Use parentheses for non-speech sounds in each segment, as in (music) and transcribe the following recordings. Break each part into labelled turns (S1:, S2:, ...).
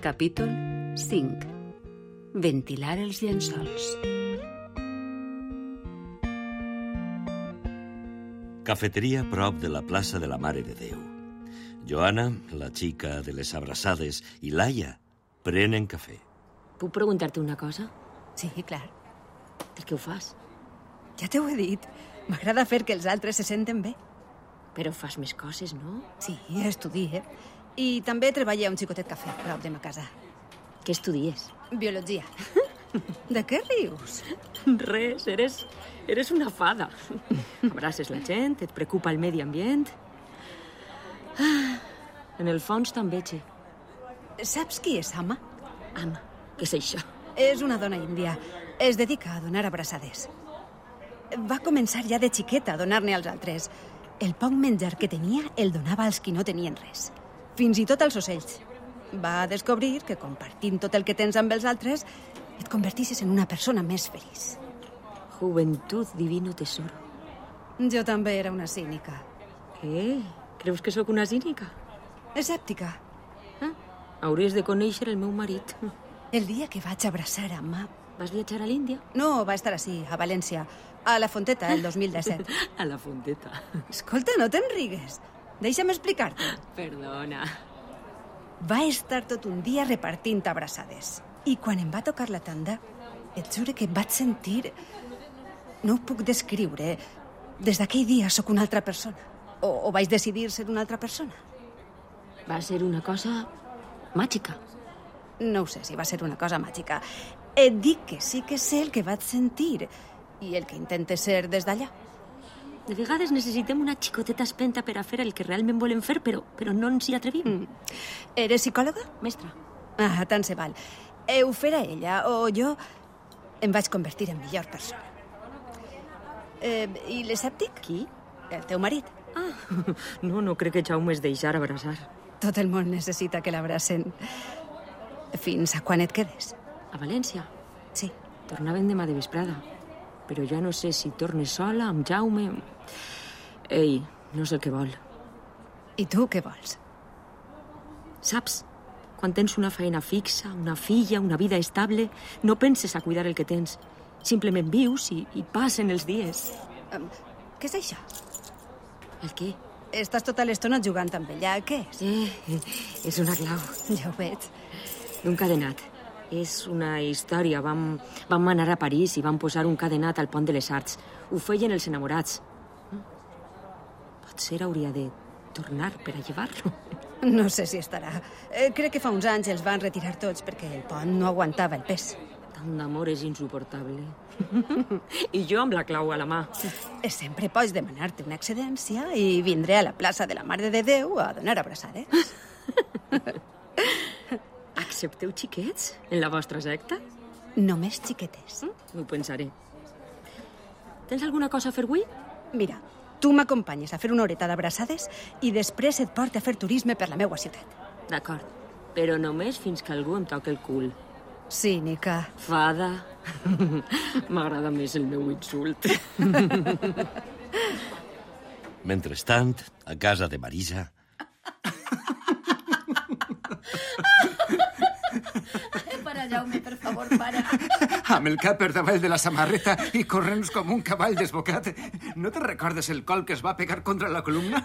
S1: Capítol 5. Ventilar els llençols.
S2: Cafeteria prop de la plaça de la Mare de Déu. Joana, la xica de les abraçades, i Laia prenen cafè.
S3: Puc preguntar-te una cosa?
S4: Sí, clar.
S3: Per què ho fas?
S4: Ja t'ho he dit. M'agrada fer que els altres se senten bé.
S3: Però fas més coses, no?
S4: Sí, estudié. I també treballo a un xicotet cafè prop de ma casa.
S3: Què estudies?
S4: Biologia. De què rius?
S3: (laughs) Res, eres, eres una fada. (laughs) Abraces la gent, et preocupa el medi ambient. Ah, En el fons te'n veig.
S4: Saps qui és Ama?
S3: Ama, què és això?
S4: És una dona índia. Es dedica a donar abraçades. Va començar ja de xiqueta a donar-ne als altres. El poc menjar que tenia el donava als qui no tenien res. Fins i tot als ocells. Va descobrir que compartint tot el que tens amb els altres et convertissis en una persona més feliç.
S3: Juventud divino tesoro.
S4: Jo també era una cínica.
S3: Què? Creus que sóc una cínica?
S4: Escèptica.
S3: Eh? Hauries de conèixer el meu marit.
S4: El dia que vaig abraçar a Ma...
S3: Vas viatjar a l'Índia?
S4: No, va estar així, a València, a la Fonteta, el
S3: (laughs)
S4: 2017.
S3: (laughs) A la fonteta.
S4: Escolta, no te'n rigues. Deixa'm explicar-te.
S3: Perdona.
S4: Va estar tot un dia repartint abraçades. I quan em va tocar la tanda, et jure que vaig sentir... No ho puc descriure. eh. Des d'aquell dia sóc una altra persona. O, o vaig decidir ser una altra persona.
S3: Va ser una cosa màgica.
S4: No ho sé si va ser una cosa màgica. Et dic que sí que sé el que vaig sentir i el que intente ser des d'allà.
S3: De vegades necessitem una xicoteta espenta per a fer el que realment volem fer, però, però no ens hi atrevim. Mm.
S4: Eres psicòloga?
S3: Mestre,
S4: Ah, tant se val. Eh, ho farà ella o jo em vaig convertir en millor persona. Eh, I l'escèptic?
S3: qui?
S4: El teu marit.
S3: Ah, (laughs) no, no crec que Jaume es deixar abraçar.
S4: Tot el món necessita que l'abracen. Fins a quan et quedes?
S3: A València.
S4: Sí.
S3: Tornaven demà de vesprada. Però ja no sé si torne sola, amb Jaume... Ei, no sé el que vol.
S4: I tu què vols?
S3: Saps? Quan tens una feina fixa, una filla, una vida estable, no penses a cuidar el que tens. Simplement vius i, i passen els dies.
S4: Um, què és això?
S3: El què?
S4: Estàs tota l'estona jugant amb ella. Què és?
S3: Eh, és una clau.
S4: Ja ho veig.
S3: d'un cadenat. És una història. Vam, vam anar a París i vam posar un cadenat al pont de les Arts. Ho feien els enamorats. Mm? Potser hauria de tornar per a llevar-lo.
S4: No sé si estarà. Eh, crec que fa uns anys els van retirar tots perquè el pont no aguantava el pes.
S3: Tant d'amor és insuportable. I jo amb la clau a la mà.
S4: Eh, Sempre pots demanar-te una excedència i vindré a la plaça de la Mare de Déu a donar abraçades.
S3: Accepteu xiquets en la vostra secta?
S4: Només xiquetes. Mm?
S3: Ho pensaré. Tens alguna cosa a fer avui?
S4: Mira, tu m'acompanyes a fer una horeta d'abraçades i després et porte a fer turisme per la meua ciutat.
S3: D'acord. Però només fins que algú em toqui el cul.
S4: Cínica.
S3: Fada. (laughs) M'agrada més el meu insult.
S2: Mentrestant, a casa de Marisa...
S5: Para, Jaume, Eh, per favor, para.
S6: (laughs) Amb el cap per davall de la samarreta i corrents com un cavall desbocat. No te recordes el col que es va pegar contra la columna?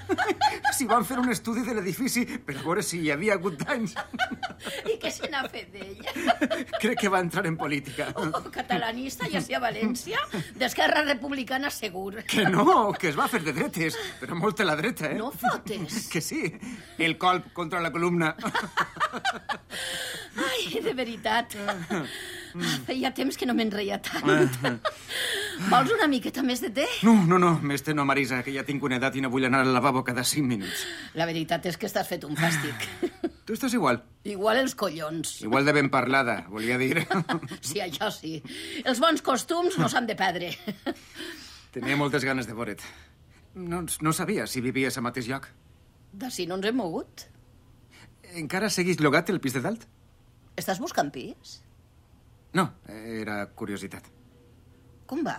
S6: Si van fer un estudi de l'edifici per veure si hi havia hagut danys.
S5: I què se n'ha fet d'ella?
S6: Crec que va entrar en política.
S5: Oh, catalanista, ja sigui a València, d'Esquerra Republicana segur.
S6: Que no, que es va fer de dretes, però molt a la dreta, eh?
S5: No fotes.
S6: Que sí, el colp contra la columna.
S5: Ai, de veritat. Feia temps que no me'n reia tant. Vols una miqueta més de te?
S6: No, no, no, més no, Marisa, que ja tinc una edat i no vull anar al lavabo cada cinc minuts.
S5: La veritat és que estàs fet un fàstic.
S6: Tu estàs igual,
S5: Igual els collons.
S6: igual de ben parlada, volia dir.
S5: Sí, això sí. Els bons costums no s'han de perdre.
S6: Tenia moltes ganes de veure't. No, no sabia si vivies al mateix lloc.
S5: De si no ens hem mogut.
S6: Encara seguís llogat el pis de dalt?
S5: Estàs buscant pis?
S6: No, era curiositat.
S5: Com va?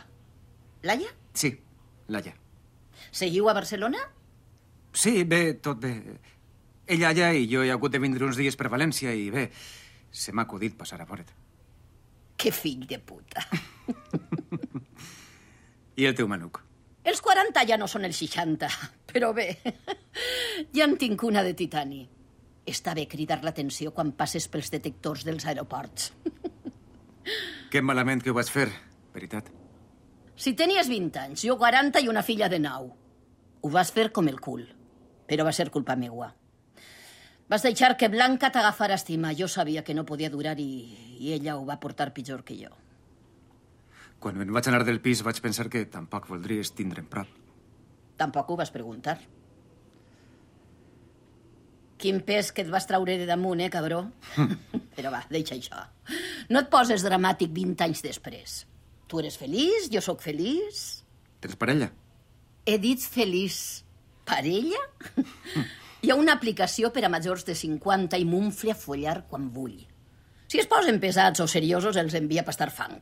S5: Laia?
S6: Sí, Laia.
S5: Seguiu a Barcelona?
S6: Sí, bé, tot bé. Ella allà i jo he hagut de vindre uns dies per València i bé, Se m'ha acudit passar a Boret.
S5: Que fill de puta.
S6: I el teu manuc?
S5: Els 40 ja no són els 60, (laughs) però bé, ja en tinc una de titani. Està bé cridar l'atenció quan passes pels detectors dels aeroports. (laughs)
S6: Que malament que ho vaig fer, veritat.
S5: Si tenies 20 anys, jo 40 i una filla de 9. Ho vas fer com el cul, però va ser culpa meua. Vas deixar que Blanca t'agafara estima. Jo sabia que no podia durar i, i ella ho va portar pitjor que jo.
S6: Quan me'n vaig anar del pis vaig pensar que tampoc voldries tindre'm prop.
S5: Tampoc ho vas preguntar. Quin pes que et vas traure de damunt, eh, cabró? Però va, deixa això. No et poses dramàtic 20 anys després. Tu eres feliç, jo sóc feliç...
S6: Tens parella? (laughs)
S5: He dit feliç. Parella? Hi ha una aplicació per a majors de 50 i m'unfle a follar quan vull. Si es posen pesats o seriosos, els envia a pastar fang.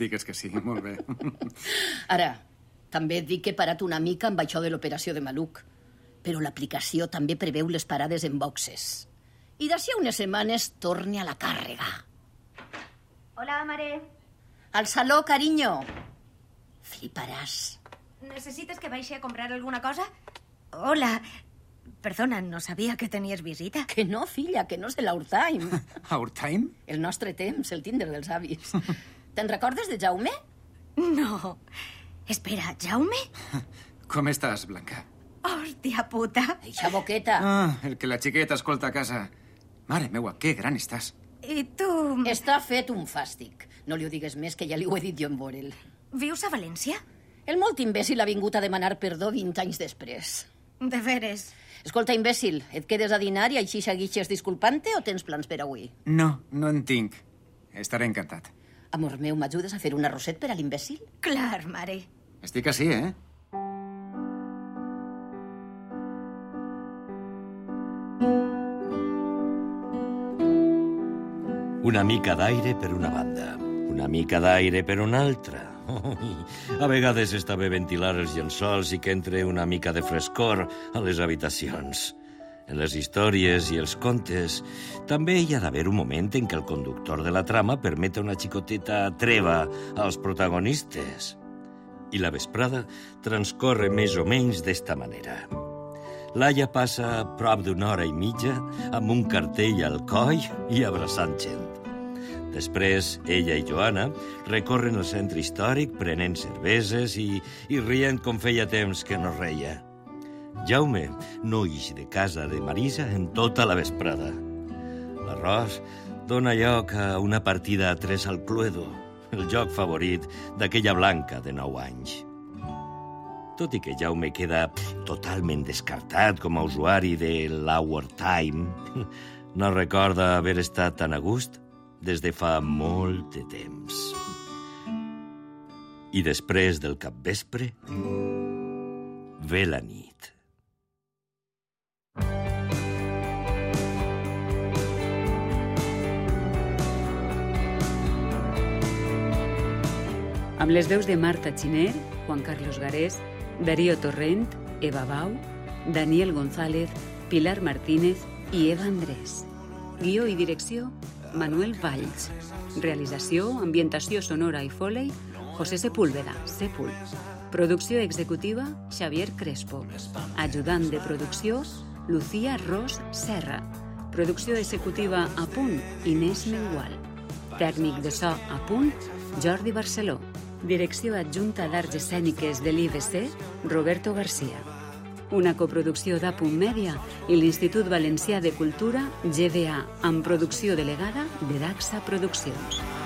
S6: Digues que sí, molt bé. (laughs)
S5: Ara, també et dic que he parat una mica amb això de l'operació de Maluc, però l'aplicació també preveu les parades en boxes. I d'ací a unes setmanes torne a la càrrega.
S4: Hola, Mare.
S5: Al saló, carinyo. Fliparàs.
S4: ¿Necesitas que vaya a comprar alguna cosa? Hola. Perdona, no sabía que tenías visita.
S5: Que no, filla, que no és el our
S4: (laughs)
S5: time.
S6: Our time?
S5: El nostre temps, el Tinder dels avis. Te'n recordes de Jaume?
S4: No. Espera, Jaume.
S6: Com estàs, Blanca?
S4: Hostia puta.
S5: Eixa boqueta.
S6: Ah, el que la xiqueta escolta a casa. Mare meua, que gran estàs.
S4: I tu...
S5: Està fet un fàstic. No li ho digues més, que ja li ho he dit jo en Borel.
S4: Vius a València?
S5: El molt imbècil ha vingut a demanar perdó 20 anys després.
S4: De veres.
S5: Escolta, imbècil, et quedes a dinar i així seguixes disculpant-te o tens plans per avui?
S6: No, no en tinc. Estaré encantat.
S5: Amor meu, m'ajudes a fer un arrosset per a l'imbècil?
S4: Clar, Mare.
S6: Estic així, eh?
S2: Una mica d'aire per una banda, una mica d'aire per una altra. (laughs) Ui, A vegades està bé ventilar els llençols i que entre una mica de frescor a les habitacions. En les històries i els contes també hi ha d'haver un moment en què el conductor de la trama permet una xicoteta treva als protagonistes. I la vesprada transcorre més o menys d'esta manera. Laia passa prop d'una hora i mitja amb un cartell al coll i abraçant gent. Després, ella i Joana recorren el centre històric prenent cerveses i, i rient com feia temps que no reia. Jaume no ix de casa de Marisa en tota la vesprada. L'arròs dona lloc a una partida a tres al Cluedo, el joc favorit d'aquella blanca de 9 anys. Tot i que Jaume queda totalment descartat com a usuari de l'Hour Time, (laughs) no recorda haver estat tan a gust des de fa molt de temps. I després del capvespre, ve la nit.
S3: Amb les veus de Marta Xiner, Juan Carlos Garés, Darío Torrent, Eva Bau, Daniel González, Pilar Martínez i Eva Andrés. Guió i direcció, Manuel Valls. Realització, ambientació sonora i foley, José Sepúlveda, Sepul. Producció executiva, Xavier Crespo. Ajudant de producció, Lucía Ros Serra. Producció executiva a punt, Inés Mengual. Tècnic de so a punt, Jordi Barceló. Direcció adjunta d'Arts Escèniques de l'IBC, Roberto Garcia. Una coproducció d'Apunt Mèdia i l'Institut Valencià de Cultura, GBA, amb producció delegada de Daxa Produccions.